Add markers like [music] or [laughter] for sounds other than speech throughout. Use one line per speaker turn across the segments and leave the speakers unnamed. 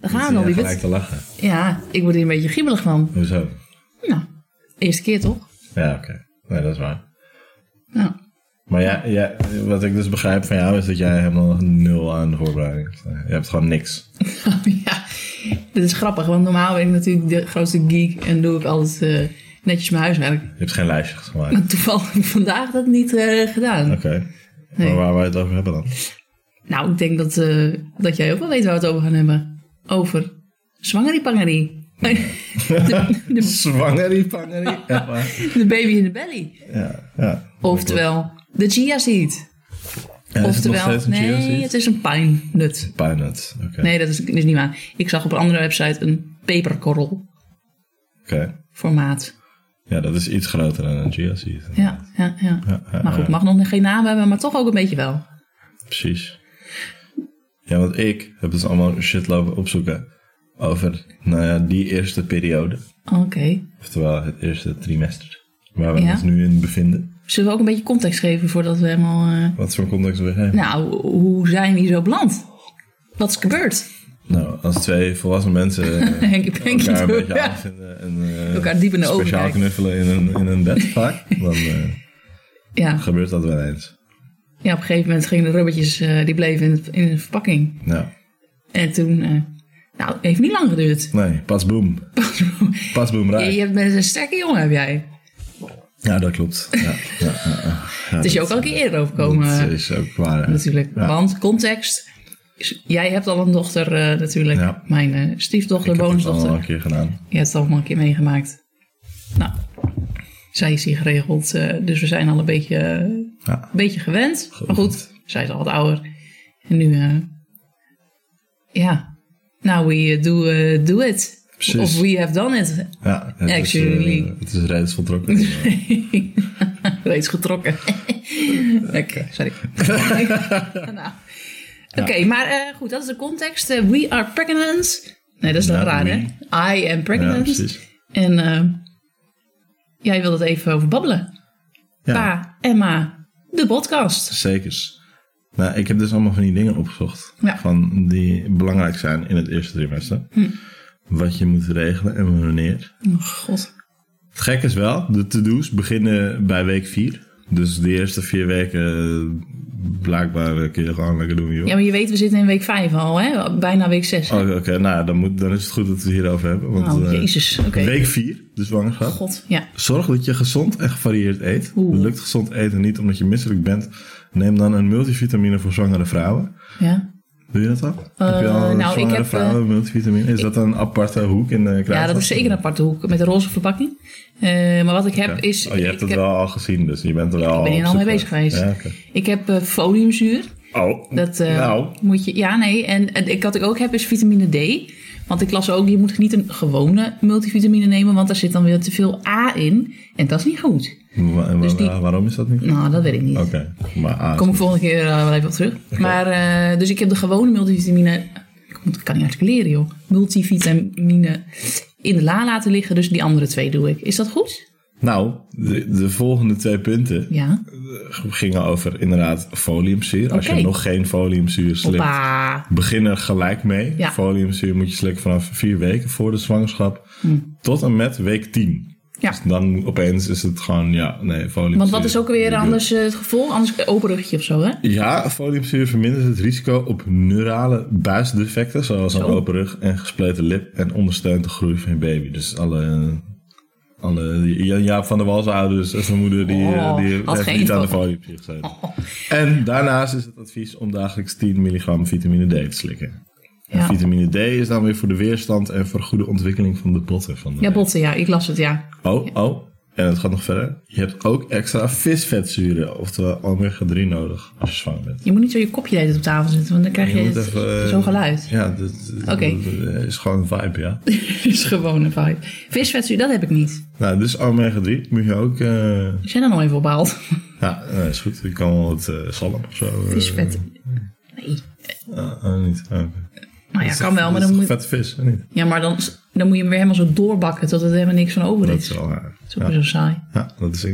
We gaan al,
eh, gelijk
lieverd.
te lachen.
Ja, ik word hier een beetje giebelig van.
Hoezo?
Nou, eerste keer toch?
Ja, oké. Nee, dat is waar.
Nou, [laughs]
Maar ja, ja, wat ik dus begrijp van jou is dat jij helemaal nul aan de voorbereiding hebt. eh, Je hebt gewoon niks.
ja, dit is grappig, want normaal ben ik natuurlijk de grootste geek en doe ik altijd eh, netjes mijn huiswerk. [laughs]
Je hebt geen lijstje gemaakt.
Maar toevallig heb ik vandaag dat niet eh, gedaan.
Oké. Maar waar wij het over
[laughs]
hebben dan?
Nou, ik denk dat, eh, dat jij ook wel weet waar we het over gaan hebben. Over zwangeriepangerie. [laughs] de, de,
Zwangerie, [laughs] pangerie. Echt waar.
de baby in de belly.
Ja, ja.
Oftewel, de chia seed.
Ja, is het nog
Oftewel,
steeds een
nee,
geoseed?
het is een pijnnut.
Pineut. Oké.
Nee, dat is, dat is niet waar. Ik zag op een andere website een peperkorrel
Oké.
formaat.
Ja, dat is iets groter dan een geoseed.
Ja, ja, ja.
ja,
maar goed, mag nog geen naam hebben, maar toch ook een beetje wel.
Precies. Ja, want ik heb dus allemaal shit lopen opzoeken over, nou ja, die eerste periode.
Oké.
Oftewel het eerste trimester. Waar we
Ja.
ons nu in bevinden.
Zullen we ook een beetje context geven voordat we helemaal... eh,
Wat voor context wil je geven?
nou, hoe zijn die zo beland? Wat is gebeurd? [laughs]
Nou, als twee volwassen mensen eh,
Henkie Penkie
elkaar een
door.
beetje aanvinden en eh,
Elkaar diep in de ogen
speciaal
kijken.
knuffelen in een, in een bed vaak, dan eh,
Ja.
gebeurt dat wel eens.
ja, op een gegeven moment gingen de rubbertjes, eh, die bleven in, het- in de verpakking.
Nou,
En toen, eh, nou, heeft niet lang geduurd.
nee, pas boem. Pas boem
Je,
rij.
je bent een sterke jongen, heb jij.
Ja, dat klopt. Ja, ja,
[laughs]
ja, ja. Ja,
Het is je ook al een keer eerder overkomen.
dat
eh,
is ook waar. hè.
natuurlijk.
Ja.
Want context. is- Jij hebt al een dochter eh, natuurlijk.
Ja.
Mijn eh, stiefdochter,
Ik heb het
bonusdochter.
al een keer gedaan.
Je hebt het allemaal een keer meegemaakt. Nou, zij is hier geregeld. eh, dus we zijn al een beetje, eh,
Ja.
een beetje gewend. Maar goed, zij is al wat ouder. En nu, eh, ja. Now we eh, do, eh, do it.
Precies.
Of we have done it. [laughs]
Ja, het
Actually.
is, eh, het is
[laughs]
reeds voltrokken. Ja.
Reeds getrokken. [laughs] Oké,
[laughs]
sorry. nou. Oké, maar eh, goed, dat is de context. Eh, we are pregnant. Nee, dat is
Ja,
dan raar,
we.
hè? I am
ja,
pregnant.
precies.
en eh, jij wil het even over babbelen.
Ja.
Pa, Emma, de podcast.
Zekers. Nou, ik heb dus allemaal van die dingen opgezocht.
Ja. Hm.
Van die belangrijk zijn in het eerste trimester. Wat je moet regelen en wanneer.
Oh, god.
Het gek is wel, de to-do's beginnen bij week 4. Dus de eerste vier weken eh, blijkbaar kun je gewoon lekker doen, joh.
Ja, maar je weet, we zitten in week 5 al, hè? Bijna week 6.
Oké, oké, nou ja, dan, moet, dan is het goed dat we het hierover hebben. Want,
Oh,
eh,
jezus. Oké.
Week 4, de zwangerschap.
God, ja.
Zorg dat je gezond en gevarieerd eet.
Oeh.
Lukt gezond eten niet omdat je misselijk bent? Neem dan een multivitamine voor zwangere vrouwen.
ja.
Doe je dat al? heb je al
nou, ik
zwangere
heb,
vrouwen, multivitamine? Is dat een aparte hoek in de kruidvat?
Ja, dat is zeker een aparte hoek met een roze verpakking. Eh, maar wat ik heb
Ja.
is...
Oh, je
ik
hebt het
heb-
wel al gezien, dus je bent er wel
Ik ben hier
op
al
zoek
mee bezig geweest.
Ja, oké.
Ik heb eh, foliumzuur.
Oh,
Dat eh,
nou.
moet je. Ja, nee. En, en ik, wat ik ook heb is vitamine D. Want ik las ook, je moet niet een gewone multivitamine nemen, want daar zit dan weer te veel A in. En dat is niet goed.
Wa- wa-
dus die-
Waarom is dat niet?
Nou, dat weet ik niet.
Oké, maar ah,
Kom ik volgende keer eh, wel even op terug. Maar, eh, dus ik heb de gewone multivitamine. Ik moet- Ik kan niet articuleren, joh. Multivitamine in de la laten liggen. Dus die andere twee doe ik. Is dat goed?
Nou, de, de volgende twee punten
Ja.
gingen over inderdaad foliumzuur. Als
Oké.
je nog geen foliumzuur slikt,
Hoppa.
begin er gelijk mee.
Ja.
Foliumzuur moet je slikken vanaf vier weken voor de zwangerschap
Hm.
tot en met week 10.
Ja.
Dus dan opeens is het gewoon, ja, nee, foliumzuur.
Want wat is ook weer
doe ik.
anders eh, het gevolg? Anders een open rugje of zo, hè?
Ja, foliumzuur vermindert het risico op neurale buisdefecten, zoals een open rug en gespleten lip, en ondersteunt de groei van je baby. Dus alle. alle Ja- Jaap van der Wal's ouders en zijn moeder, die,
Oh,
eh, die
had
heeft
geen Oh.
niet aan de
fo-
foliumzuur gezeten. En daarnaast is het advies om dagelijks 10 milligram vitamine D te slikken. En
Ja.
vitamine D is dan weer voor de weerstand en voor goede ontwikkeling van de botten van de
Ja,
baby.
botten, ja. Ik las het, ja.
Oh, oh. En het gaat nog verder. Je hebt ook extra visvetzuren, oftewel omega-3 nodig als je zwanger bent.
Je moet niet zo je kopje deed op tafel zitten, want dan krijg je,
Je moet
het-
even, eh,
dus zo'n geluid. [laughs]
Ja, dat, dat-
Oké.
dat is gewoon een vibe, ja.
is gewoon een vibe. Visvetzuur, dat heb ik niet.
nou, dus omega-3 moet je ook... eh,
Als jij daar nog even op haalt.
ja, nou, is goed. Je kan wel wat eh, zalm of zo. eh,
Visvet. Nee.
ah, ah, niet. Ah, oké.
Nou ja, kan wel, maar
Dat
dan
is
moet,
toch Vette vis, of niet?
ja, maar dan, dan moet je hem weer helemaal zo doorbakken tot er helemaal niks van over
Dat
is.
is wel waar.
Dat is ook weer zo saai. [laughs]
Ja, dat is...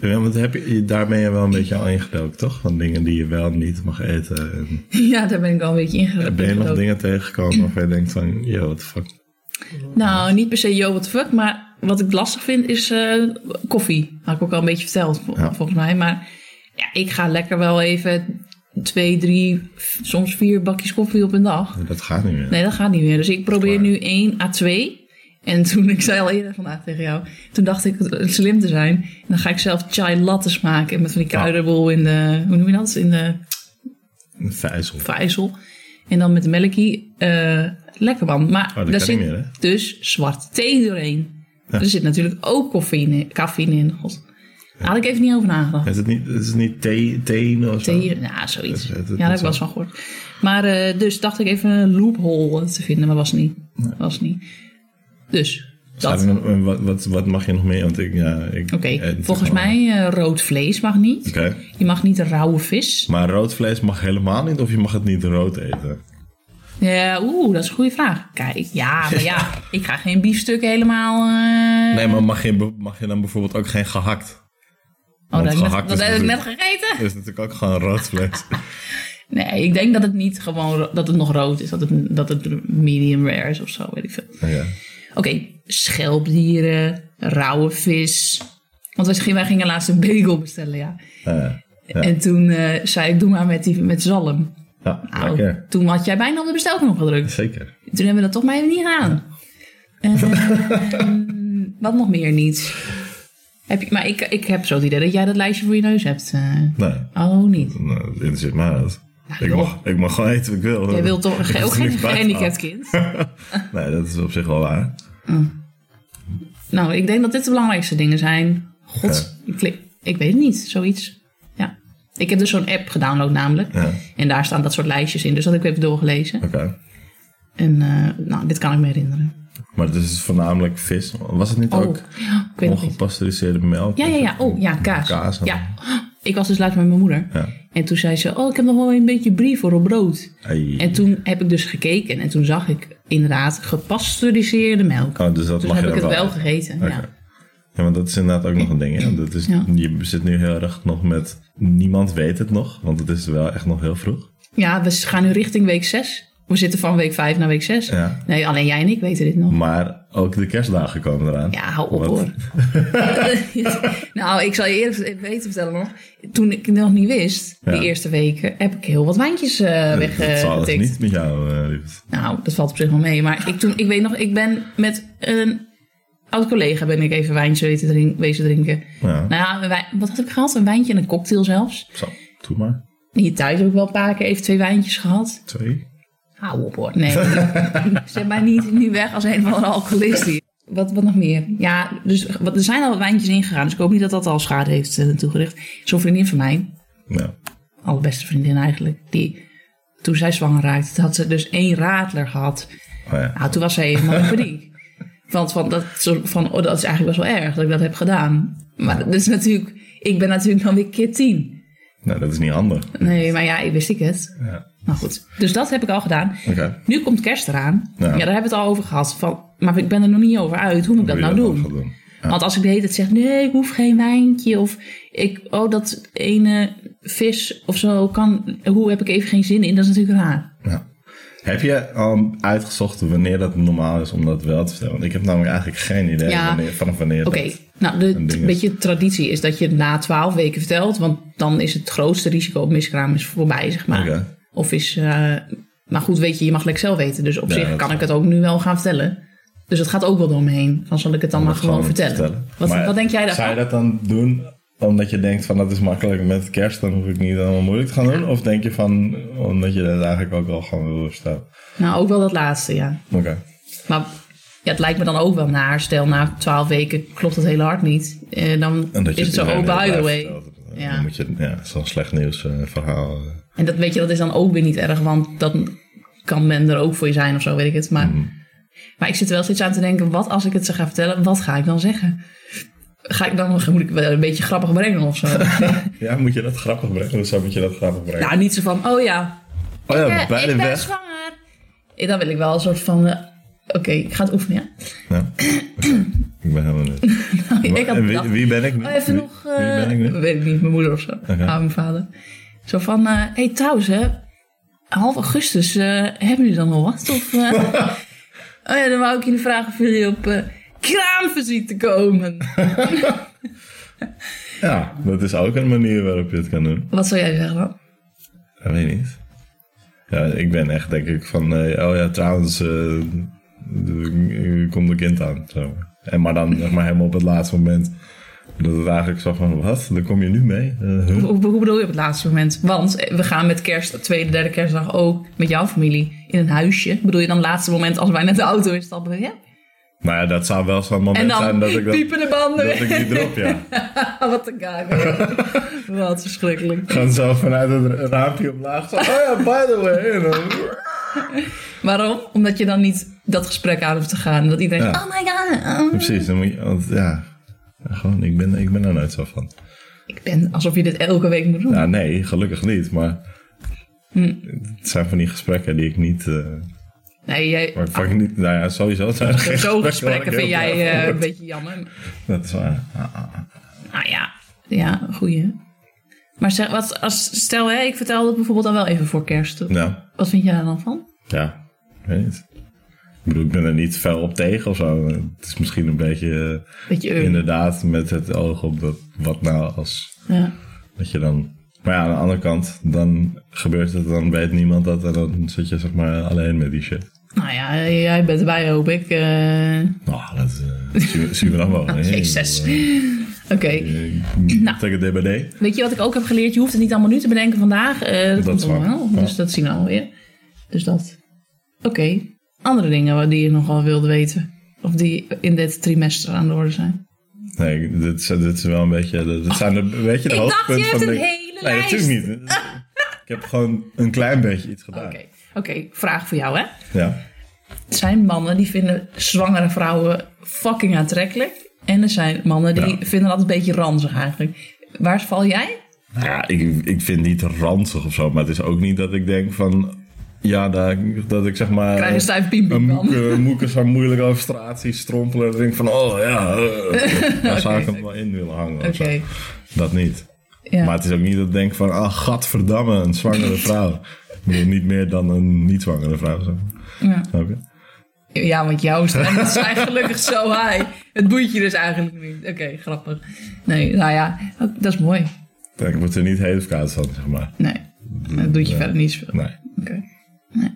Ja, want heb je, daar ben je wel een beetje al ingedoken, toch? Van dingen die je wel niet mag eten. En
Ja, daar ben ik al een beetje ingegaan.
ben je nog dingen tegengekomen waarvan je denkt van, yo, what the fuck.
Nou, niet per se yo, what the fuck. Maar wat ik lastig vind is eh, koffie. Had ik ook al een beetje verteld, vol-
Ja.
volgens mij. Maar ja, ik ga lekker wel even twee, drie, f- soms vier bakjes koffie op een dag.
Dat gaat niet meer.
Nee, dat gaat niet meer. Dus ik probeer
Waar?
nu 1 à 2. En toen, [laughs] ik zei al eerder vandaag tegen jou, toen dacht ik het slim te zijn. En dan ga ik zelf chai lattes maken met van die kruidenbol in de, hoe noem je dat? In de
Een vijzel.
vijzel. En dan met de melkie. eh, lekker man. Maar
Oh, dat
daar
kan
zit
niet meer, hè?
dus zwarte thee doorheen. Er zit natuurlijk ook cafeïne in. Cafeïne in. God. Daar had ik even niet over nagedacht.
Is het niet, is het niet thee, thee of zo?
Thee, nou, zoiets. Ja,
Dat is- dat is
daar
niet
heb ik
zo.
wel eens van gehoord. Maar eh, dus dacht ik even een loophole te vinden, maar was niet. Was niet. Dus,
Staat
dat.
er
Oké,
nog- en wat, wat, wat mag je nog meer? Want ik, ja, ik eet natuurlijk
volgens
wel-
mij eh, rood vlees mag niet.
Oké.
Je mag niet rauwe vis.
Maar rood vlees mag helemaal niet of je mag het niet rood eten?
Ja, Oeh, dat is een goede vraag. Kijk, ja, maar
[laughs]
ja, ik ga geen biefstuk helemaal... eh,
Nee, maar mag je, be- mag je dan bijvoorbeeld ook geen gehakt?
Oh, dat
Want
heb ik net,
gehakt
dat
is
heb ik net
natuurlijk-
gegeten.
Dat is natuurlijk ook gewoon rood
[laughs]
vlees.
Nee, ik denk dat het niet gewoon ro- dat het nog rood is, dat het, dat het medium rare is of zo, weet ik veel. Oké,
ja.
schelpdieren, rauwe vis. Want wij gingen, wij gingen laatst een bagel bestellen, ja.
Eh, ja.
En toen eh, zei ik, doe maar met, die, met zalm.
ja,
Nou,
lekker.
toen had jij bijna op de bestelknop gedrukt.
Zeker.
Toen hebben we dat toch maar even niet gedaan.
[laughs]
Ehm, wat nog meer niet? Heb je, maar ik, ik heb zo het idee dat jij dat lijstje voor je neus hebt. eh.
Nee.
oh, niet.
Nou, dat interesseert mij uit. Ik
joh.
mag, ik mag gewoon eten wat ik wil.
Jij wilt toch
Ik hoef
ge-
er
ook geen
niks bij te
gehandicapt kind?
halen. Nee, dat is op zich wel waar.
Nou, ik denk dat dit de belangrijkste dingen zijn. God, ik, klik- ik weet het niet, zoiets. Ja. Ik heb dus zo'n app gedownload namelijk.
Ja.
En daar staan dat soort lijstjes in. Dus dat heb ik even doorgelezen.
Oké.
En eh, nou, dit kan ik me herinneren.
Maar dus het is voornamelijk vis. Was het niet
Oh,
ook
ja, ik weet nog niet.
ongepasteuriseerde melk?
Ja, ja, ja. Oh, ja, kaas.
Kaas en-
Ja. Ik was dus laatst met mijn moeder.
Ja.
En toen zei ze, oh, ik heb nog wel een beetje brie voor op brood.
Ai.
En toen heb ik dus gekeken. En toen zag ik inderdaad gepasteuriseerde melk.
Oh, dus dat
dus
mag
heb
je
ik het
dan
wel
eten.
gegeten. Ja.
Oké. Ja, want dat is inderdaad ook nog een ding. Hè? Dat is,
Ja.
Je zit nu heel erg nog met... Niemand weet het nog, want het is wel echt nog heel vroeg.
Ja, we gaan nu richting week 6. We zitten van week 5 naar week 6.
Ja.
Nee, alleen jij en ik weten dit nog.
Maar ook de kerstdagen komen eraan.
Ja, hou op
Wat- [laughs]
hoor. [laughs] nou, ik zal je eerlijk weten vertellen nog. Toen ik het nog niet wist,
Ja.
die eerste weken, heb ik heel wat wijntjes eh
Dat, dat zal dus
weggetikt.
niet met jou, eh lieverd.
Nou, dat valt op zich wel mee. Maar ik, toen, ik weet nog, ik ben met een oud collega ben ik even wijntje weten drink- wezen drinken.
Ja,
Nou ja, een wij- wat had ik gehad? Een wijntje en een cocktail zelfs.
zo. Doe maar.
Hier thuis heb ik wel een paar keer even twee wijntjes gehad.
Twee.
Hou op hoor. [laughs] Nee, zet mij niet nu weg als een van de alcoholist hier. Wat, wat nog meer? Ja, dus wat, er zijn al wat wijntjes ingegaan. Dus ik hoop niet dat dat al schade heeft eh, toegericht. Zo'n vriendin van mij,
Nou,
allerbeste vriendin eigenlijk, die toen zij zwanger raakte, had ze dus één radler gehad.
oh ja.
Nou, toen was zij helemaal in [laughs] paniek. Want van, dat, soort van, oh, dat is eigenlijk best wel erg dat ik dat heb gedaan. Maar dat is natuurlijk, ik ben natuurlijk dan weer keer tien.
Nou, dat is niet handig.
Nee, maar ja, ik wist ik het.
Ja.
Nou goed, dus dat heb ik al gedaan.
Oké.
Nu komt kerst eraan. Ja.
Ja.
daar hebben we het al over gehad. Van, maar ik ben er nog niet over uit hoe moet ik dat nou
Hoe je
doen.
dan gaat doen.
Want als ik de hele tijd zeg, nee, ik hoef geen wijntje. Of ik, oh, dat ene vis of zo kan, hoe heb ik even geen zin in. Dat is natuurlijk raar.
Ja. Heb je al uitgezocht wanneer dat normaal is om dat wel te vertellen? Want ik heb namelijk eigenlijk geen idee
Ja.
wanneer, vanaf wanneer
Oké,
dat...
nou, de
ding
een
is.
beetje traditie is dat je het na twaalf weken vertelt. Want dan is het grootste risico op miskraam is voorbij, zeg maar.
Oké.
Of is, eh, maar goed, weet je, je mag lekker zelf weten. Dus op
Ja,
zich
dat
kan
is
ik het ook nu wel gaan vertellen. Dus het gaat ook wel door me heen. Dan zal ik het dan maar
dat
gewoon vertellen. Wat,
Maar
wat denk jij daarvan?
Zou je dat dan doen omdat je denkt van dat is makkelijk met kerst, dan hoef ik niet allemaal moeilijk te gaan doen? Of denk je van omdat je dat eigenlijk ook wel gewoon wil verstaan?
Nou, ook wel dat laatste, ja.
Oké.
Maar ja, het lijkt me dan ook wel naar. Stel, na twaalf weken klopt het hele hard niet. Eh, dan
En dat
is het zo, oh,
iedereen
by the
blijft
way.
vertellen.
Ja.
Dan moet je, ja, zo'n slecht nieuws eh, verhaal. eh.
En dat weet je, dat is dan ook weer niet erg. Want dan kan men er ook voor je zijn of zo, weet ik het. Maar, maar ik zit er wel steeds aan te denken, wat als ik het ze ga vertellen, wat ga ik dan zeggen? Ga ik dan, moet ik wel een beetje grappig brengen of zo?
Ja, moet je dat grappig brengen? Hoezo moet je dat grappig brengen?
nou, niet zo van, oh ja,
oh ja,
Eh,
bij
ik
de
ben
weg.
zwanger. Eh, Dan wil ik wel een soort van eh, Oké, ik ga het oefenen, ja.
Nou, ik ben helemaal niet.
[laughs] ik had
En wie,
bedacht-
wie ben ik nu?
Oh, even
Wie-
nog...
Wie
eh,
ben ik nu?
Weet ik niet, mijn moeder of zo.
Oké.
Ah, mijn vader. Zo van, eh hey, trouwens hè, half augustus, eh, hebben jullie dan al wat? Of, eh,
[laughs]
oh ja, dan wou ik jullie vragen of jullie op eh kraamvisite komen.
Ja, dat is ook een manier waarop je het kan doen.
wat zou jij zeggen dan?
Ik weet niet. Ja, ik ben echt denk ik van, eh, oh ja, trouwens, eh, er komt een kind aan. Zo. En maar dan zeg maar helemaal op het laatste moment. Dat het eigenlijk zo van, wat, dan kom je nu mee? Eh, huh?
Hoe, hoe bedoel je op het laatste moment? Want eh, we gaan met kerst, tweede, derde kerstdag ook met jouw familie in een huisje. Bedoel je dan het laatste moment als wij net de auto instappen? Ja.
Nou ja, dat zou wel zo'n
En
moment
dan
zijn dat ik, dat,
piepen de banden. [laughs] Ah,
dat ik die drop, ja.
wat een
[laughs]
gaar. wat verschrikkelijk.
Gewoon zo vanuit het raampje omlaag. Zo, oh ja, by the way. En
[laughs]
dan-
Waarom? Omdat je dan niet dat gesprek aan hoeft te gaan. Dat iedereen
Ja.
zegt, oh my god. oh.
Precies, dan moet je, want ja, gewoon, ik ben, ik ben er nooit zo van.
Ik ben alsof je dit elke week moet doen.
Nou, nee, gelukkig niet, maar
Hm.
het zijn van die gesprekken die ik niet, eh
Nee, jij,
waarvan ik niet, nou ja, sowieso zijn er geen
zo'n
waar
gesprekken
ik heel
vind jij
blij van
eh,
word.
een beetje jammer.
Dat is waar. Ah, ah.
Nou ja, ja, goeie. Maar zeg, wat, als, stel hè, ik vertel dat bijvoorbeeld dan wel even voor kerst.
Nou,
Wat vind jij daar dan van?
ja, ik weet niet. Ik bedoel, ik ben er niet fel op tegen of zo. Het is misschien een beetje, eh,
Beetje eh,
inderdaad, met het oog op dat, wat nou als
ja.
Dat je dan. Maar ja, aan de andere kant, dan gebeurt het, dan weet niemand dat en dan zit je zeg maar alleen met die shit.
Nou ja, jij bent erbij hoop ik. eh
Nou, dat eh,
[laughs]
zien we- zien we dan wel. hè.
Jezus.
Ik bedoel,
Oké.
eh, ik-
Nou.
Take a DBD.
Weet je wat ik ook heb geleerd? Je hoeft het niet allemaal nu te bedenken vandaag. Eh, dat
is
komt
waar.
allemaal wel.
Ja.
Dus dat zien we alweer. Dus dat. Oké. Andere dingen waar- die je nogal wilde weten. Of die in dit trimester aan de orde zijn.
Nee, dit, is- dit is wel een beetje. Dit zijn de, weet je, de
Ik dacht, je
hoofdpunten
hebt
van
een
de-
hele
Nee,
lijst.
natuurlijk niet. ik heb gewoon een klein beetje iets
Oké.
gedaan.
Oké, vraag voor jou hè.
Ja.
Er zijn mannen die vinden zwangere vrouwen fucking aantrekkelijk. En er zijn mannen die
Ja.
vinden dat een beetje ranzig eigenlijk. Waar val jij?
Nou Ja, ik, ik vind het niet ranzig of zo, maar het is ook niet dat ik denk van. Ja, daar, dat ik zeg maar.
Krijg je stijf piempiem
Een
van.
moeke, een moeke zo moeilijk over straat zien strompelen. En denk van, oh ja,
[laughs]
eh, daar zou ik hem wel in willen hangen. of
Oké.
zo. Dat niet.
Ja.
Maar het is ook niet dat ik denk van, ah, gadverdamme, een
[laughs]
zwangere vrouw. Ik bedoel, niet meer dan een niet-zwangere vrouw. Zo.
Ja.
Snap je?
Ja, want jouw stemmen zijn gelukkig [laughs] zo high. Het boeit je dus eigenlijk niet. Oké, grappig. Nee, nou ja, dat is mooi.
Ik word er niet heel koud van, zeg maar.
Nee, dat doet je
Ja.
verder niet zoveel.
Nee.
Oké. Nee.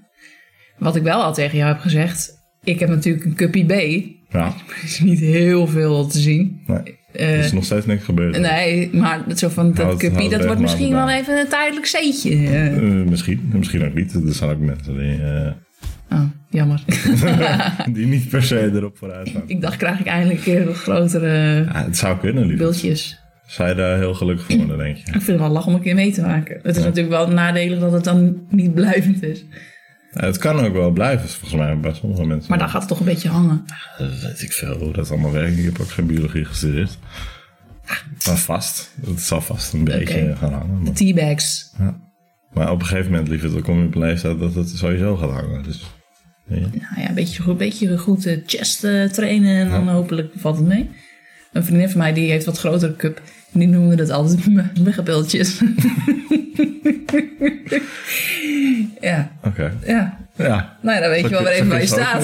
Wat ik wel al tegen jou heb gezegd, ik heb natuurlijk een cuppie B. [laughs]
Ja,
Er is niet heel veel te zien.
nee.
Eh,
Er is Nou, nog steeds niks gebeurd.
nee, maar dat, zo van, dat
Houd-
cuppie,
houd
dat
weg,
wordt
maar
misschien wel
vandaan.
even een tijdelijk zeetje. eh.
Eh, misschien, misschien ook niet. Er zijn ook mensen die, eh,
[laughs] Oh, jammer. [laughs]
die niet per se erop vooruit gaan.
ik dacht, krijg ik eindelijk een keer wat grotere eh,
Ja, het zou kunnen, lief.
bultjes.
Zou je daar heel gelukkig voor worden, denk je?
Ik vind het wel lach om een keer mee te maken. Het is
Ja.
natuurlijk wel nadelig dat het dan niet blijvend is.
Ja, het kan ook wel blijven, volgens mij, bij sommige mensen.
Maar dan gaat het toch een beetje hangen.
Dat weet ik veel hoe dat allemaal werkt. Ik heb ook geen biologie gestudeerd. Maar vast. Het zal vast een beetje
Oké.
gaan hangen. Maar,
Teabags.
maar op een gegeven moment, lieverd, dan kom je op een leeftijd dat het sowieso gaat hangen. Dus, weet je.
Nou ja, een beetje goed, beetje goed eh, chest eh, trainen en dan hopelijk valt het mee. Een vriendin van mij die heeft wat grotere cup. En die noemde dat altijd [laughs] m- muggenbeeldjes. [laughs] ja,
Oké.
ja.
Ja.
Nou ja, dan weet je wel waar even
bij
bij je staat.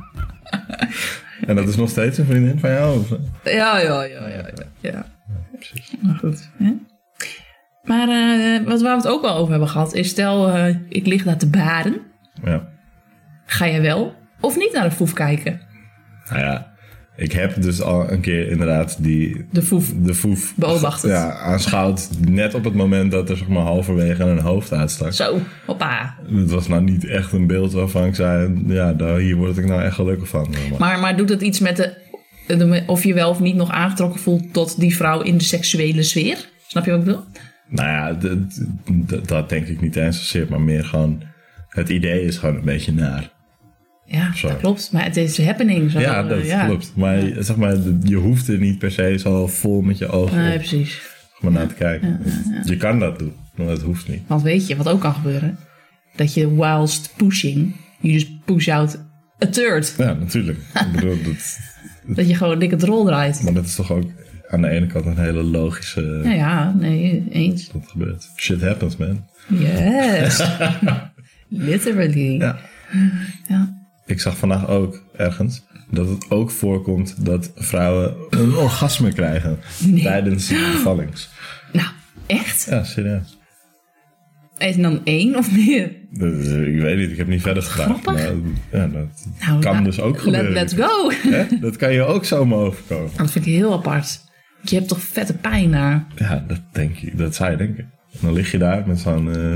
[laughs]
en dat is nog steeds een vriendin van jou? Of?
Ja, ja, ja, ja. ja, ja.
Precies.
Maar goed. Hè? Maar eh, wat waar we het ook wel over hebben gehad is... stel, eh, ik lig daar te baren.
Ja.
Ga jij wel of niet naar de foef kijken?
Nou ja, ik heb dus al een keer inderdaad die
De foef.
de foef
Beobachtend.
Ja, aanschouwd. Net op het moment dat er zeg maar halverwege een hoofd uitstak.
Zo, hoppa.
Het was nou niet echt een beeld waarvan ik zei, ja, daar, hier word ik nou echt gelukkig van. Maar
Maar, maar doet het iets met de, de- of je wel of niet nog aangetrokken voelt tot die vrouw in de seksuele sfeer? Snap je wat ik bedoel?
nou ja, d- d- d- dat denk ik niet eens zozeer, maar meer gewoon, het idee is gewoon een beetje naar.
Ja,
Zo.
dat klopt. Maar het is happening. Zo,
Ja,
eh,
dat klopt. Maar zeg maar, je hoeft er niet per se zo vol met je ogen
Nee,
op,
precies.
maar naar te kijken. Dus Je kan dat doen, maar dat hoeft niet.
Want weet je wat ook kan gebeuren? Dat je whilst pushing, je dus push out a turd.
Ja,
[laughs]
natuurlijk. Ik bedoel, dat,
Dat je gewoon dikke drol draait.
maar dat is toch ook aan de ene kant een hele logische...
Ja, ja, nee, eens.
Dat gebeurt. Shit happens, man. [laughs]
Yes. Literally.
Ja.
Ja.
Ik zag vandaag ook ergens dat het ook voorkomt dat vrouwen een orgasme krijgen tijdens de bevallings.
Nou, echt?
Ja, serieus.
En dan één of meer?
Dat is, eh, Ik weet niet, ik heb niet verder gevraagd.
Grappig.
Maar ja, dat
Nou,
kan
nou,
dus ook
let-
gebeuren.
let's go.
Hè? Dat kan je ook zomaar overkomen.
Dat vind ik heel apart. Je hebt toch vette pijn daar.
Ja, dat denk je. Dat zou je denken. En dan lig je daar met zo'n... eh,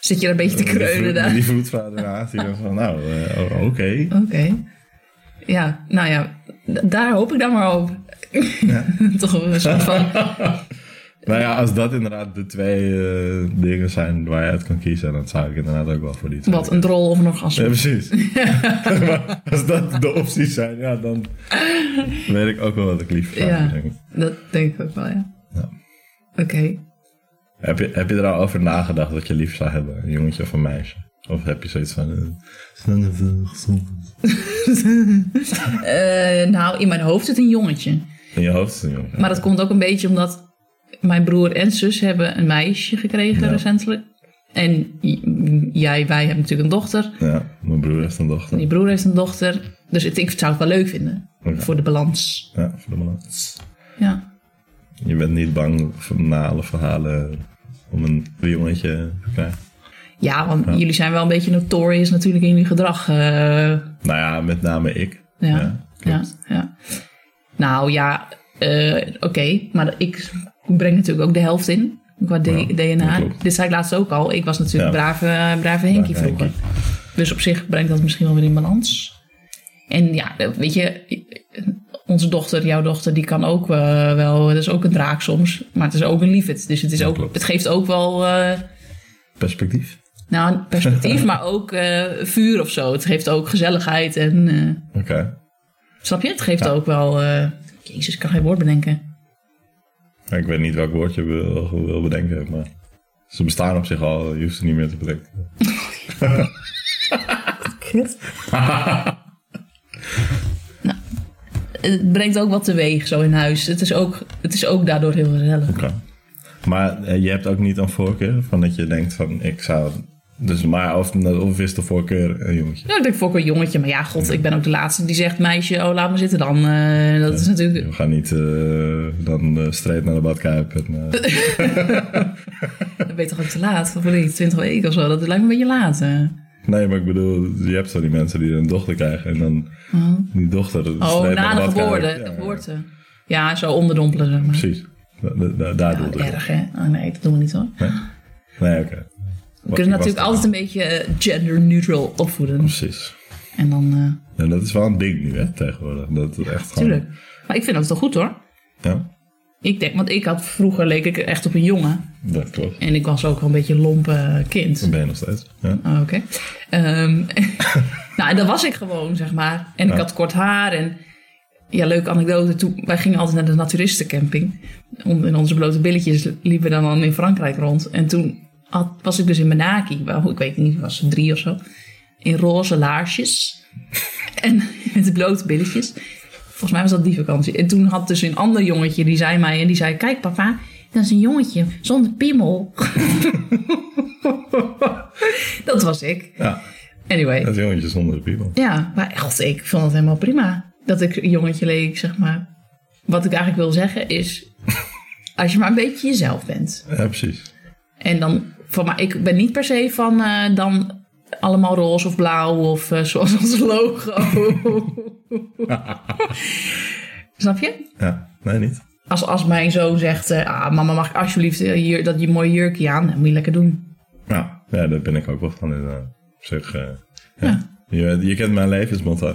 Zit je daar een beetje te
met die
kreunen
vloed-
daar?
met Die voetvader naast. Die dan van, nou, eh, oké.
Oké. Ja, nou ja, d- daar hoop ik dan maar op. [laughs] Toch een soort van.
Nou ja, als dat inderdaad de twee eh, dingen zijn waar je uit kan kiezen... dan zou ik inderdaad ook wel voor die twee
Wat, een drol of een orgasme?
Ja, precies. [laughs] maar als dat de opties zijn, ja, dan weet ik ook wel wat ik liever zou
Ja.
zeggen.
Dat denk ik ook wel, ja.
Ja.
Oké.
Heb je, heb je er al over nagedacht wat je liever zou hebben? Een jongetje of een meisje? Of heb je zoiets van... eh, snel even gezond.
Eh, nou, in mijn hoofd zit een jongetje.
In je hoofd is het een jongetje.
Maar dat komt ook een beetje omdat mijn broer en zus hebben een meisje gekregen
Ja.
recentelijk. En j- jij, wij hebben natuurlijk een dochter.
Ja, mijn broer heeft een dochter.
Je broer heeft een dochter. Dus het, ik zou het wel leuk vinden.
Oké.
Voor de balans.
Ja, voor de balans.
Ja.
Je bent niet bang voor, na alle verhalen om een jongetje te krijgen?
Ja, want jullie zijn wel een beetje notorious natuurlijk in jullie gedrag. eh,
Nou ja, met name ik.
ja.
Ja,
Ja,
klopt.
ja, Nou ja, eh, oké. Maar ik breng natuurlijk ook de helft in. Qua D-
Ja, dat
DNA.
klopt.
Dit zei ik laatst ook al. Ik was natuurlijk
Ja.
brave, brave Henkie
Brave
vroeger. Dus op zich brengt dat misschien wel weer in balans. En ja, weet je, onze dochter, jouw dochter, die kan ook eh, wel... Dat is ook een draak soms, maar het is ook een liefheid. Dus het, is
Ja,
ook,
klopt.
het geeft ook wel... eh,
Perspectief?
nou, een
[laughs]
perspectief, maar ook eh, vuur of zo. Het geeft ook gezelligheid en... eh,
Oké.
snap je? Het geeft ook wel... eh, jezus, ik kan geen woord bedenken.
Ja, Ik weet niet welk woord je wil, wil bedenken, maar ze bestaan op zich al. Je hoeft ze niet meer te bedenken.
Het brengt ook wat teweeg zo in huis. Het is ook, het is ook daardoor heel gezellig.
Oké. Maar eh, je hebt ook niet een voorkeur van dat je denkt van ik zou... Dus maar of, of is de voorkeur een jongetje?
Nou, ik denk voor ook een jongetje. Maar ja, god, ik ben ook de laatste die zegt... meisje, oh, laat me zitten dan. Eh, dat is natuurlijk...
We gaan niet eh, dan eh straight naar de badkuip. En, eh,
Dan ben je toch ook te laat? Of weet ik, 20 weken of zo. Dat lijkt me een beetje laat. eh.
nee, maar ik bedoel, je hebt zo die mensen die een dochter krijgen en dan die dochter
Oh,
straight
na
naar
de
de badkuip.
geboorte.
Ja,
de
ja,
geboorte. Ja, zo onderdompelen, zeg maar.
Precies, Da- da- da- daar
Ja,
doelde ik op.
erg, hè? Oh, nee, dat doen we niet, hoor.
Nee, oké.
We kunnen natuurlijk altijd een beetje eh, gender-neutral opvoeden.
Precies.
En dan... eh,
En dat is wel een ding nu, hè, tegenwoordig. Dat is echt gewoon...
Tuurlijk. Maar ik vind dat wel goed hoor.
Ja,
Ik denk, want ik had vroeger leek ik echt op een jongen.
dat klopt.
En ik was ook wel een beetje een lompe eh, kind.
Dat ben je nog steeds. Ja.
Oh, Oké. Ehm, nou, en dat was ik gewoon, zeg maar. En ik had kort haar en... Ja, leuke anekdote. Toen, wij gingen altijd naar de naturistencamping. Om- In onze blote billetjes liepen we dan al in Frankrijk rond. En toen had- was ik dus in Menaki. Wel, ik weet niet, ik was drie of zo. In roze laarsjes. [laughs] En met blote billetjes. Volgens mij was dat die vakantie. En toen had dus een ander jongetje, die zei mij... En die zei, kijk papa, dat is een jongetje zonder piemel. [laughs] dat was ik.
ja,
Anyway.
dat jongetje zonder de piemel.
Ja, maar echt, ik vond het helemaal prima. Dat ik een jongetje leek, zeg maar. Wat ik eigenlijk wil zeggen is... [laughs] als je maar een beetje jezelf bent.
Ja, precies.
En dan... Van, maar ik ben niet per se van eh, dan allemaal roze of blauw... of eh, [laughs] zoals ons logo. [laughs] Snap je?
Ja, nee, niet.
Als, als mijn zoon zegt... eh, ah, mama, mag ik alsjeblieft eh, hier, dat je mooie jurkje aan? Dan moet je lekker doen.
Ja, Nou, ja daar ben ik ook wel van. In, op zich, eh, ja. Je, weet- je kent mijn levensmotto.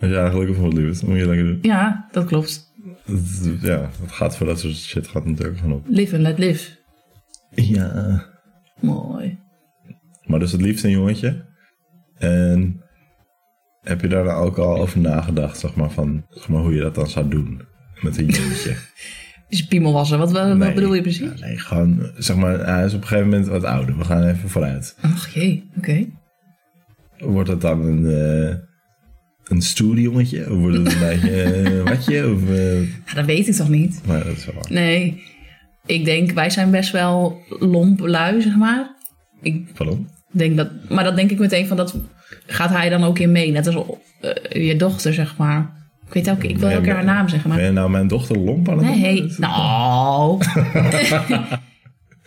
Als je eigenlijk of wat liefst, moet je lekker doen.
Ja, dat klopt.
Dat- Ja, het gaat voor dat soort shit gaat natuurlijk gewoon op.
Live and let live.
Ja.
Mooi.
Maar dus het liefst een jongetje. En heb je daar dan ook al over nagedacht, zeg maar, van zeg maar, hoe je dat dan zou doen met een jongetje?
Is een piemel wassen. Wat, [laughs] wat,
Nee.
wat bedoel je precies?
Ja, nee, gewoon, zeg maar, hij is op een gegeven moment wat ouder. We gaan even vooruit.
Ach jee, oké.
Wordt dat dan een, eh, een stoer jongetje? Of wordt
[laughs]
het een beetje eh, watje? Of, eh,
Ja, dat weet ik toch niet?
maar dat is wel waar.
Nee. Ik denk, wij zijn best wel lomp lui, zeg maar. Ik
Pardon?
denk dat, maar dat denk ik meteen van, dat gaat hij dan ook in mee? Net als eh, je dochter, zeg maar. Ik weet ook, ik wil
Nee,
elke haar
maar-
naam zeggen, maar...
Ben je nou mijn dochter lomp aan het
Nee,
noemen? [laughs]
hey, nou.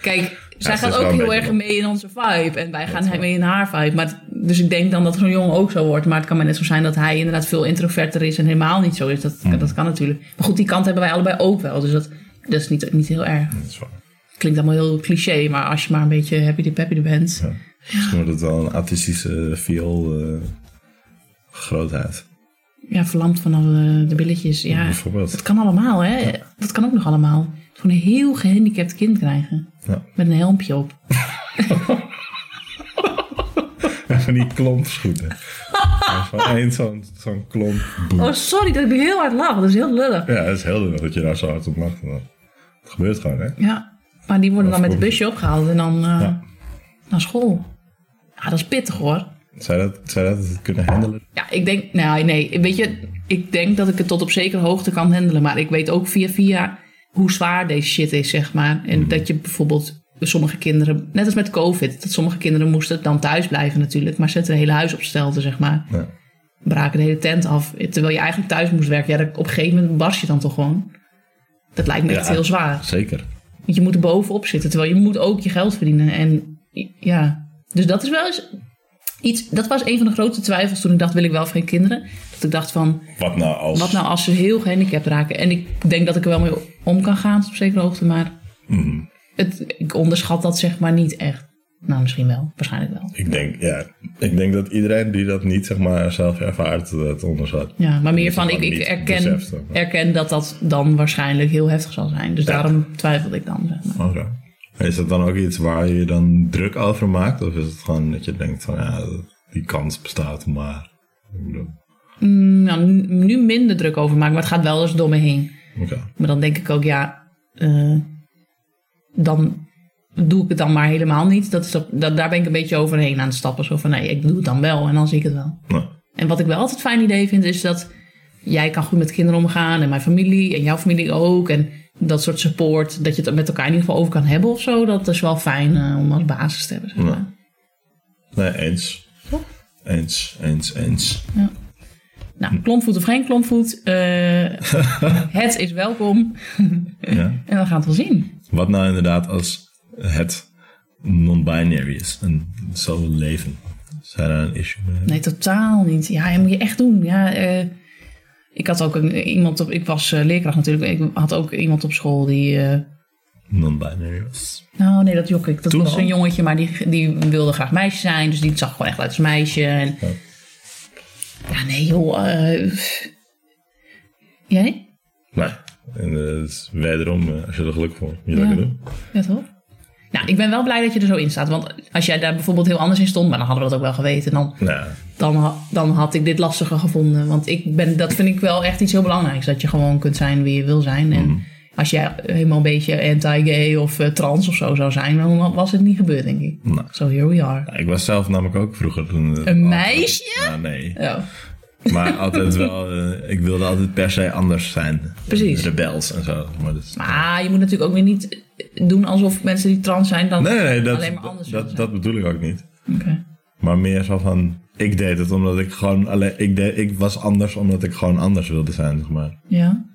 Kijk, zij
ze
gaat
is wel
ook
een
heel
beetje
erg
wel.
mee in onze vibe. En wij gaan mee in haar vibe. Maar het- dus ik denk dan dat zo'n jongen ook zo wordt. Maar het kan maar net zo zijn dat hij inderdaad veel introverter is en helemaal niet zo is. Dat,
Hmm.
dat kan natuurlijk. Maar goed, die kant hebben wij allebei ook wel. Dus dat, dat is niet, niet heel erg.
Dat is waar.
Klinkt allemaal heel cliché, maar als je maar een beetje happy de peppy bent.
Ja. Misschien wordt het wel een artistische viool eh, grootheid.
Ja, verlamd vanaf eh, de billetjes. Ja, dat
Bijvoorbeeld.
kan allemaal, hè? Dat kan ook nog allemaal. Gewoon een heel gehandicapt kind krijgen.
Ja.
Met een helmpje op.
Van die
[laughs]
klompschoenen. Ja, Van één zo'n zo'n klomp. Boem.
Oh, sorry dat ik heel hard lach. Dat is heel lullig.
Ja, het is heel duidelijk dat je daar zo hard op lacht. Maar Het gebeurt gewoon, hè?
Ja, maar die worden dan met het
Afgelopen.
busje opgehaald en dan eh,
Ja.
naar school. Ja, dat is pittig hoor.
Zou je dat, zou je dat kunnen handelen?
Ja, ik denk, nou nee, weet je, ik denk dat ik het tot op zekere hoogte kan handelen. Maar ik weet ook via via hoe zwaar deze shit is, zeg maar. En
Hmm.
dat je bijvoorbeeld sommige kinderen, net als met COVID, dat sommige kinderen moesten dan thuis blijven natuurlijk. Maar zetten het hele huis op stelten, zeg maar.
Ja.
braken de hele tent af. Terwijl je eigenlijk thuis moest werken. Ja, dat, op een gegeven moment barst je dan toch gewoon. Dat lijkt me echt
Ja.
heel zwaar.
Zeker.
Want je moet er bovenop zitten, terwijl je moet ook je geld verdienen. En ja, dus dat is wel eens iets... Dat was een van de grote twijfels toen ik dacht, wil ik wel of geen kinderen? Dat ik dacht van,
Wat nou als...
wat nou als ze heel gehandicapt raken? En ik denk dat ik er wel mee om kan gaan, tot op zekere hoogte. Maar
Mhm.
het, ik onderschat dat zeg maar niet echt. Nou, misschien wel. Waarschijnlijk wel.
Ik denk, ja, ik denk dat iedereen die dat niet zeg maar, zelf ervaart, dat onderschat.
Ja, maar meer van, ik, ik
gewoon niet
erken,
beseft, zeg maar.
erken dat dat dan waarschijnlijk heel heftig zal zijn. Dus daarom twijfelde ik dan, zeg maar.
Oké. Is dat dan ook iets waar je je dan druk over maakt? Of is het gewoon dat je denkt van, ja, die kans bestaat maar. Ik bedoel,
Nou, nu- nu minder druk over maken, maar het gaat wel eens door me heen.
Oké.
Maar dan denk ik ook, ja, eh, dan doe ik het dan maar helemaal niet. Dat is dat, dat- daar ben ik een beetje overheen aan het stappen. Zo van, nee, ik doe het dan wel en dan zie ik het wel.
Nou,
En wat ik wel altijd een fijn idee vind, is dat jij kan goed met kinderen omgaan. En mijn familie en jouw familie ook. En dat soort support, dat je het met elkaar in ieder geval over kan hebben of zo. Dat is wel fijn eh, om als basis te hebben. Zeg maar.
Ja. nee, eens.
Toch?
Eens, eens, eens.
Nou, klompvoet of geen klompvoet,
[laughs]
eh, het is welkom.
Ja?
[laughs] En we gaan het wel zien.
Wat nou inderdaad als het non-binary is en zo leven? Zijn daar een issue mee?
Nee, totaal niet. Ja, dat moet je echt doen. Ja, eh, ik had ook een, iemand op. Ik was eh, leerkracht natuurlijk. Ik had ook iemand op school die. eh,
Non-binary was.
nou, nee, dat jok ik. Dat
Toen
was
al?
een jongetje, maar die, die wilde graag meisje zijn. Dus die zag gewoon echt uit als meisje. En,
Ja.
ja, nee, joh. eh, pff. jij?
Maar, en eh, dat is wederom, eh, als je er geluk voor hebt, moet je
Ja.
dat doen.
Ja, toch? Nou, ik ben wel blij dat je er zo in staat. Want als jij daar bijvoorbeeld heel anders in stond, maar dan hadden we dat ook wel geweten. Dan
Nou,
dan, ha- dan had ik dit lastiger gevonden. Want ik ben, dat vind ik wel echt iets heel belangrijks. Dat je gewoon kunt zijn wie je wil zijn. En als jij helemaal een beetje anti-gay of eh, trans of zo zou zijn, dan was het niet gebeurd, denk ik.
Nee.
So here we are.
nou, ik was zelf namelijk ook vroeger een... eh,
Een
al-
meisje?
Ja, nee.
Ja.
Maar altijd wel, eh, ik wilde altijd per se anders zijn.
Precies.
Rebels en zo. Maar dus- dat is-
Maar je moet natuurlijk ook weer niet doen alsof mensen die trans zijn dan...
nee, nee, nee, dat,
Alleen maar anders
dat,
zijn.
dat bedoel ik ook niet.
Oké.
Maar meer zo van, ik deed het omdat ik gewoon alleen, ik, deed, ik was anders omdat ik gewoon anders wilde zijn, zeg maar.
Ja.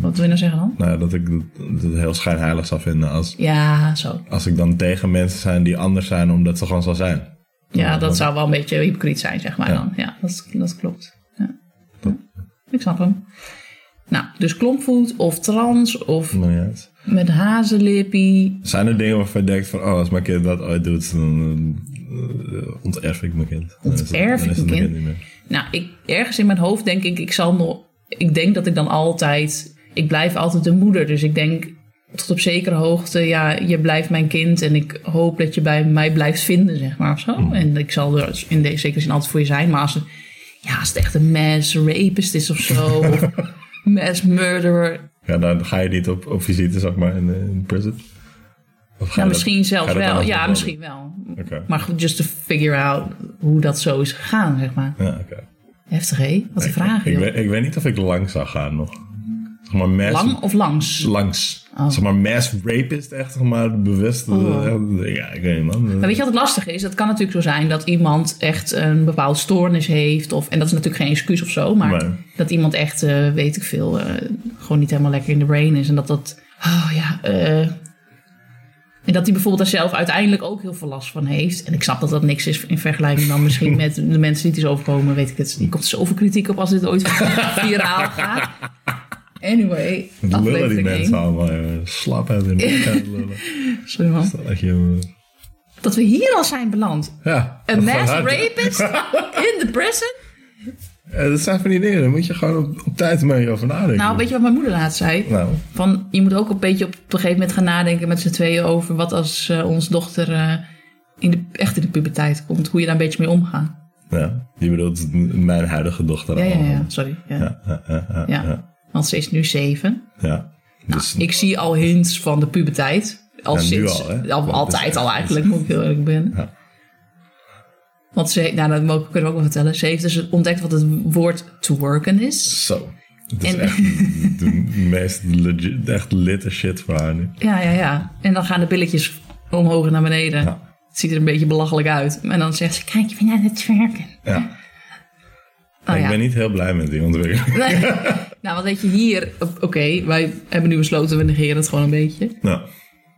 Wat wil je nou zeggen dan?
Nou, ja, dat ik het het heel schijnheilig zou vinden als,
Ja, zo.
als ik dan tegen mensen zijn die anders zijn omdat ze gewoon zo zijn.
Ja, dat zou wel een beetje hypocriet zijn, zeg maar
Ja.
dan. Ja, dat, dat klopt. Ja. Ik snap hem. Nou, dus klompvoet of trans of
Maakt niet uit.
Met hazenlippie.
Zijn er dingen waarvan je denkt van, oh, als mijn kind dat ooit doet, dan eh, onterf ik mijn kind. Dan is het-
Onterf
dan
ik
is het
mijn kind?
mijn niet meer.
Nou, ik, ergens in mijn hoofd denk ik, ik zal nog. Ik denk dat ik dan altijd. Ik blijf altijd de moeder. Dus ik denk tot op zekere hoogte, ja, je blijft mijn kind. En ik hoop dat je bij mij blijft vinden, zeg maar. Of zo.
Hmm.
En ik zal er in deze zekere zin altijd voor je zijn. Maar als, het- ja, als het echt een mass rapist is of zo.
[laughs]
of mass murderer.
Ja, dan ga je niet op, op visite, zeg maar, in, eh, in prison? Of ga je
Ja,
dat-
Nou, misschien
ga
zelfs
je dat
wel.
anders
Ja,
doen?
misschien wel.
Oké.
Maar goed, just to figure out hoe dat zo is gegaan, zeg maar.
Ja, oké.
Heftig, hé? Wat een vraag,
Ik
joh.
weet, ik weet niet of ik lang zou gaan nog. Zeg maar mass,
Lang Oh. of langs?
Langs. Zeg maar mass rapist, echt zeg maar bewust.
Oh.
eh, ja, ik weet niet man.
Maar weet je wat het lastige is? Dat kan natuurlijk zo zijn dat iemand echt een bepaald stoornis heeft. Of, en dat is natuurlijk geen excuus of zo. Maar
Nee.
dat iemand echt, eh, weet ik veel, eh, gewoon niet helemaal lekker in de brain is. En dat dat, oh ja, eh, en dat hij bijvoorbeeld daar zelf uiteindelijk ook heel veel last van heeft. En ik snap dat dat niks is in vergelijking dan misschien
[laughs]
met de mensen die het is overkomen. Weet ik het. Er komt zoveel kritiek op als dit ooit [laughs] viraal gaat. Anyway,
Wat lullen die
aflevering
mensen
1.
allemaal, jongen. Slap uit hun nek aan het lullen.
Sorry man.
Dat echt, jongen.
Dat we hier al zijn beland.
Ja.
Een
dat
mass
gaat hard. [laughs]
rapist in the prison?
Eh, Dat zijn van die dingen, daar moet je gewoon op, op tijd mee over nadenken.
Nou, weet je wat mijn moeder laatst zei?
Nou,
Van, je moet ook een beetje op een gegeven moment gaan nadenken met z'n tweeën over wat als eh, ons dochter eh, in de, echt in de puberteit komt. Hoe je daar een beetje mee omgaat.
ja. je bedoelt m- mijn huidige dochter
Ja, ja,
allemaal.
ja. Sorry. Ja.
Ja, ja, ja, ja,
Ja. Want ze is nu zeven.
ja. Dus
Ik zie al hints van de puberteit. Al
Ja, nu
sinds,
al, hè?
al,
Ja, dus-
altijd al eigenlijk, moet ik heel eerlijk ben.
Ja.
Want ze, nou, dat mogen- kunnen we ook wel vertellen. Ze heeft dus ontdekt wat het woord to worken is.
zo. Het is
En-
echt de meest legit, echt litte shit voor haar nu.
Ja, ja, ja. En dan gaan de billetjes omhoog en naar beneden.
Ja.
Het ziet er een beetje belachelijk uit. En dan zegt ze, kijk, je bent aan het werken.
Ja.
Oh,
Ik
ja.
ben niet heel blij met die ontwikkeling.
Nee. nou, want weet je, hier... Oké, wij hebben nu besloten, we negeren het gewoon een beetje.
[laughs] nou,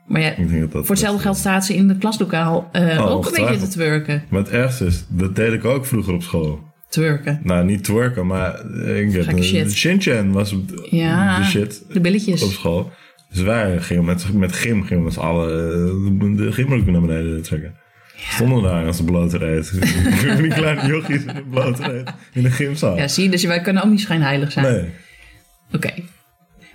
Maar ja,
ik denk Oh, dat dat...
voor hetzelfde geld staat ze in het klaslokaal eh, ook een beetje te
ongetwijfeld.
twerken.
Maar het ergste is, dat deed ik ook vroeger op school.
Twerken.
Nou, niet twerken, maar eh, ik
Gekke shit.
Shinchan was de
Ja,
de shit
De billetjes.
op school. Dus wij gingen met, met gym, gingen we met z'n allen eh, de gymroeken naar beneden trekken. Stonden daar als een blote [laughs] reet. Die kleine jochies in een blote reet in de gymzaal.
Ja, zie je, dus wij kunnen ook niet schijnheilig zijn.
Nee,
Oké.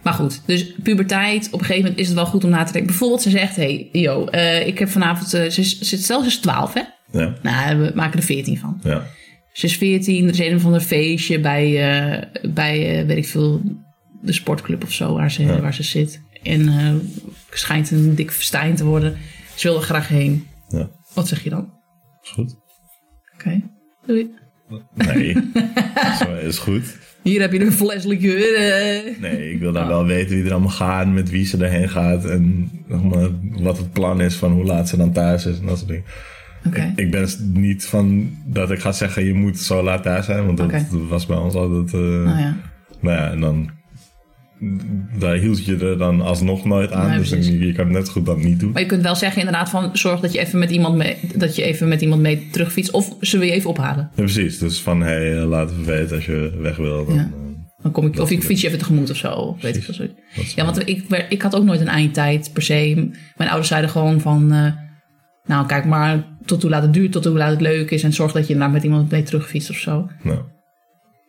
Maar goed, dus puberteit, op een gegeven moment is het wel goed om na te denken. Bijvoorbeeld, ze zegt, hey, yo, eh, ik heb vanavond... eh, ze, is- ze, stel, ze is 12, hè?
ja,
Nou, we maken er 14 van.
ja.
Ze is 14, er is een of ander feestje bij, eh, bij eh, weet ik veel, de sportclub of zo waar ze, waar ze zit. En eh, schijnt een dik verstijn te worden. Ze wil er graag heen.
ja.
Wat zeg je dan? Oké,
Is goed?
doei.
Nee,
[laughs]
Zo, is goed.
Hier heb je een fles liqueur. eh.
Nee, ik wil dan wel weten wie er allemaal gaan, met wie ze daarheen gaat en zeg maar, wat het plan is van hoe laat ze dan thuis is en dat soort dingen.
Oké.
Ik ben s- niet van dat ik ga zeggen je moet zo laat daar zijn, want dat
Oké.
was bij ons altijd. eh,
Nou ja.
Nou ja, en dan. Daar hield je er dan alsnog nooit aan.
Nee,
dus
precies.
je kan het net zo goed dan niet doen.
Maar je kunt wel zeggen inderdaad van zorg dat je even met iemand mee, dat je even met iemand mee terugfietst. Of ze wil je even ophalen.
Ja, precies. Dus van hé, hey, laat even weten als je weg wil. Dan,
Ja.
eh,
Dan kom ik, of ik fiets je even tegemoet of zo. of Weet ik veel. zoiets.
is
Ja, want ik, wer- ik had ook nooit een eindtijd per se. Mijn ouders zeiden gewoon van... eh, nou, kijk maar tot hoe laat het duurt, tot hoe laat het leuk is. En zorg dat je daar met iemand mee terugfietst of zo.
nou,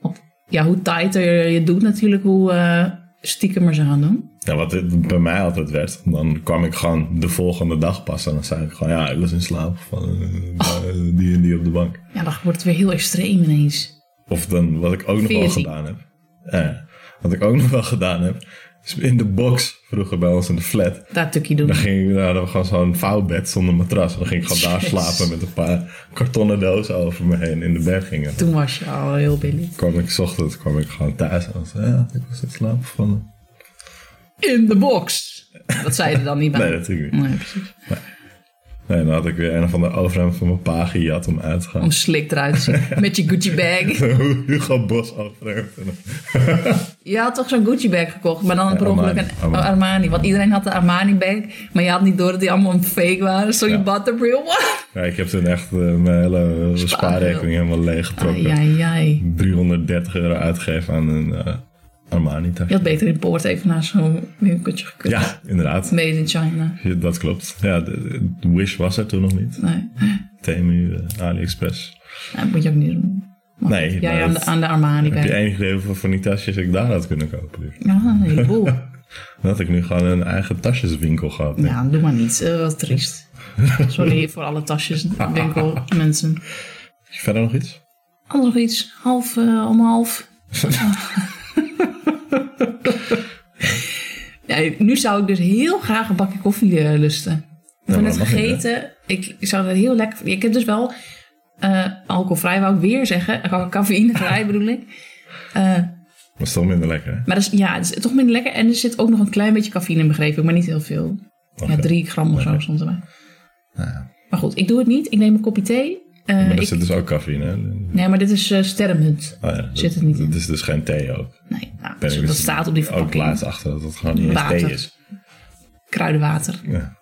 Want ja, hoe tighter je het doet natuurlijk, hoe eh stiekemer ze gaan doen.
ja, wat het bij mij altijd werd, dan kwam ik gewoon de volgende dag pas. En dan zei ik gewoon, ja, ik was in slaap. Van, eh,
Oh.
Die en die op de bank.
Ja, dan wordt het weer heel extreem ineens.
Of dan wat ik ook nog wel
Veertien.
gedaan heb. Ja, wat ik ook nog wel gedaan heb. Is in de box vroeger bij ons in de flat.
Daar tukkie doen.
Dan ging ik, nou, hadden we gewoon zo'n vouwbed zonder matras. Dan ging ik gewoon daar
Jezus.
slapen met een paar kartonnen dozen over me heen in de bergingen.
[laughs] Toen was je al heel billy.
Toen kwam ik 's ochtends kwam ik gewoon thuis en was, ja, ik was in slaap gevallen.
In de box! Dat zei je er dan niet bij.
Nee, natuurlijk niet.
Nee, precies.
Nee, dan had ik weer een van de overhemd van mijn pa gejat om uit te gaan. [laughs]
Om slik eruit te zien. Met je Gucci bag.
Hugo Bos overhemd. En dan-
Je had toch zo'n Gucci bag gekocht, maar dan per ongeluk
Armani.
een oh, Armani.
Armani.
Want iedereen had de Armani bag, maar je had niet door dat die allemaal een fake waren. Sorry,
Ja.
Butterbrill. [laughs]
Ja, ik heb toen echt eh, mijn hele spaarrekening helemaal leeggetrokken.
Ai, ai, ai.
330 euro uitgegeven aan een eh, Armani
Je
tasje.
had beter in Poort even naar zo'n winkeltje gekund.
Ja, inderdaad.
Made in China.
Ja, Dat klopt. Ja, de- de Wish was er toen nog niet.
Nee,
Temu, eh, AliExpress.
dat moet je ook niet doen. Maar
Nee,
goed,
maar
Jij aan de,
dat-
aan de Armani
Heb je
bag.
enig idee hoeveel van die tasjes ik daar had kunnen kopen? nu?
Ja, een heleboel.
[laughs] Dan had ik nu gewoon een eigen tasjeswinkel gehad. denk ik.
ja, doe maar niet. Eh, wat
[laughs]
triest. Sorry voor alle tasjes, winkel, mensen.
Is er Verder nog iets?
Anders nog iets. Half, eh, om half. [laughs] Nee, nu zou ik dus heel graag een bakje koffie eh, lusten. Ik ben
maar
het
dat mag niet,
vergeten. ik zou dat heel lekker... Ik heb dus wel Eh, alcoholvrij wou ik weer zeggen. [laughs] Ca-
[laughs]
Cafeïnevrij bedoel ik. Eh,
Maar is toch minder lekker, hè?
maar dat is, ja, het is toch minder lekker. En er zit ook nog een klein beetje cafeïne in, begreep ik. Maar niet heel veel.
Oké.
Ja, drie gram of zo
Lekker.
stond erbij.
Nou ja.
Maar goed, ik doe het niet. Ik neem een kopje thee. Eh,
Maar er
ik-
zit dus ook cafeïne, hè?
Nee, maar dit is eh sterrenmunt.
Oh ja, dat-
Zit het niet in.
Het is dus geen thee ook.
Nee, nou,
Ben ik
dat
dus
staat op die
Ook laatst
verpakking.
achter dat het gewoon niet eens
Water.
thee is.
Kruidenwater.
Ja.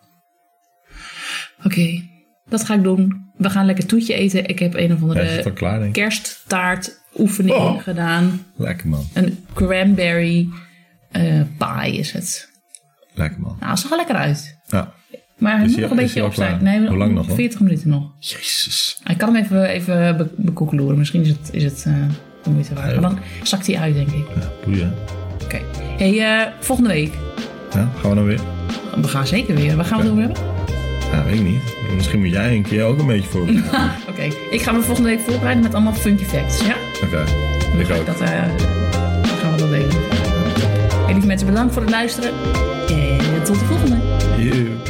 Oké, dat ga ik doen. We gaan lekker toetje eten. Ik heb een of
Ja, is het al
andere
klaar, denk ik?
kersttaart oefening
Oh.
gedaan.
Lekker man.
Een cranberry eh, pie is het.
Lekker man.
Nou, het zag er lekker uit.
Ja.
Maar hij
Is
moet
hij-
nog een
is
beetje
hij al
opstaan.
klaar?
Nee,
Hoe lang nog, hoor?
40 minuten nog.
Jezus.
Ik kan hem even, even be- bekoekeloeren. Misschien is het, is het eh, de moeite waard.
Ja.
Maar dan zakt hij uit, denk ik. Oké.
Ja, boeien. hè?
Hey, eh, volgende week.
Ja, gaan we dan weer?
We gaan zeker weer. Waar gaan we het
Oké.
over hebben?
Ja, weet ik niet. Misschien moet jij een keer ook een beetje voor. Oké.
Oké. Ik ga me volgende week voorbereiden met allemaal funky facts. Ja?
Ik ook.
Dat eh, dat gaan we wel delen. En lieve mensen, bedankt voor het luisteren. En tot de volgende.
Joe.